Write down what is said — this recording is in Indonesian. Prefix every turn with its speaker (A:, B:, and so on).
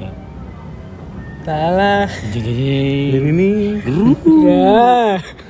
A: Ya.
B: Salah.
A: Jeng jeng, jeng.
C: ini
A: Geruk.
B: Ya.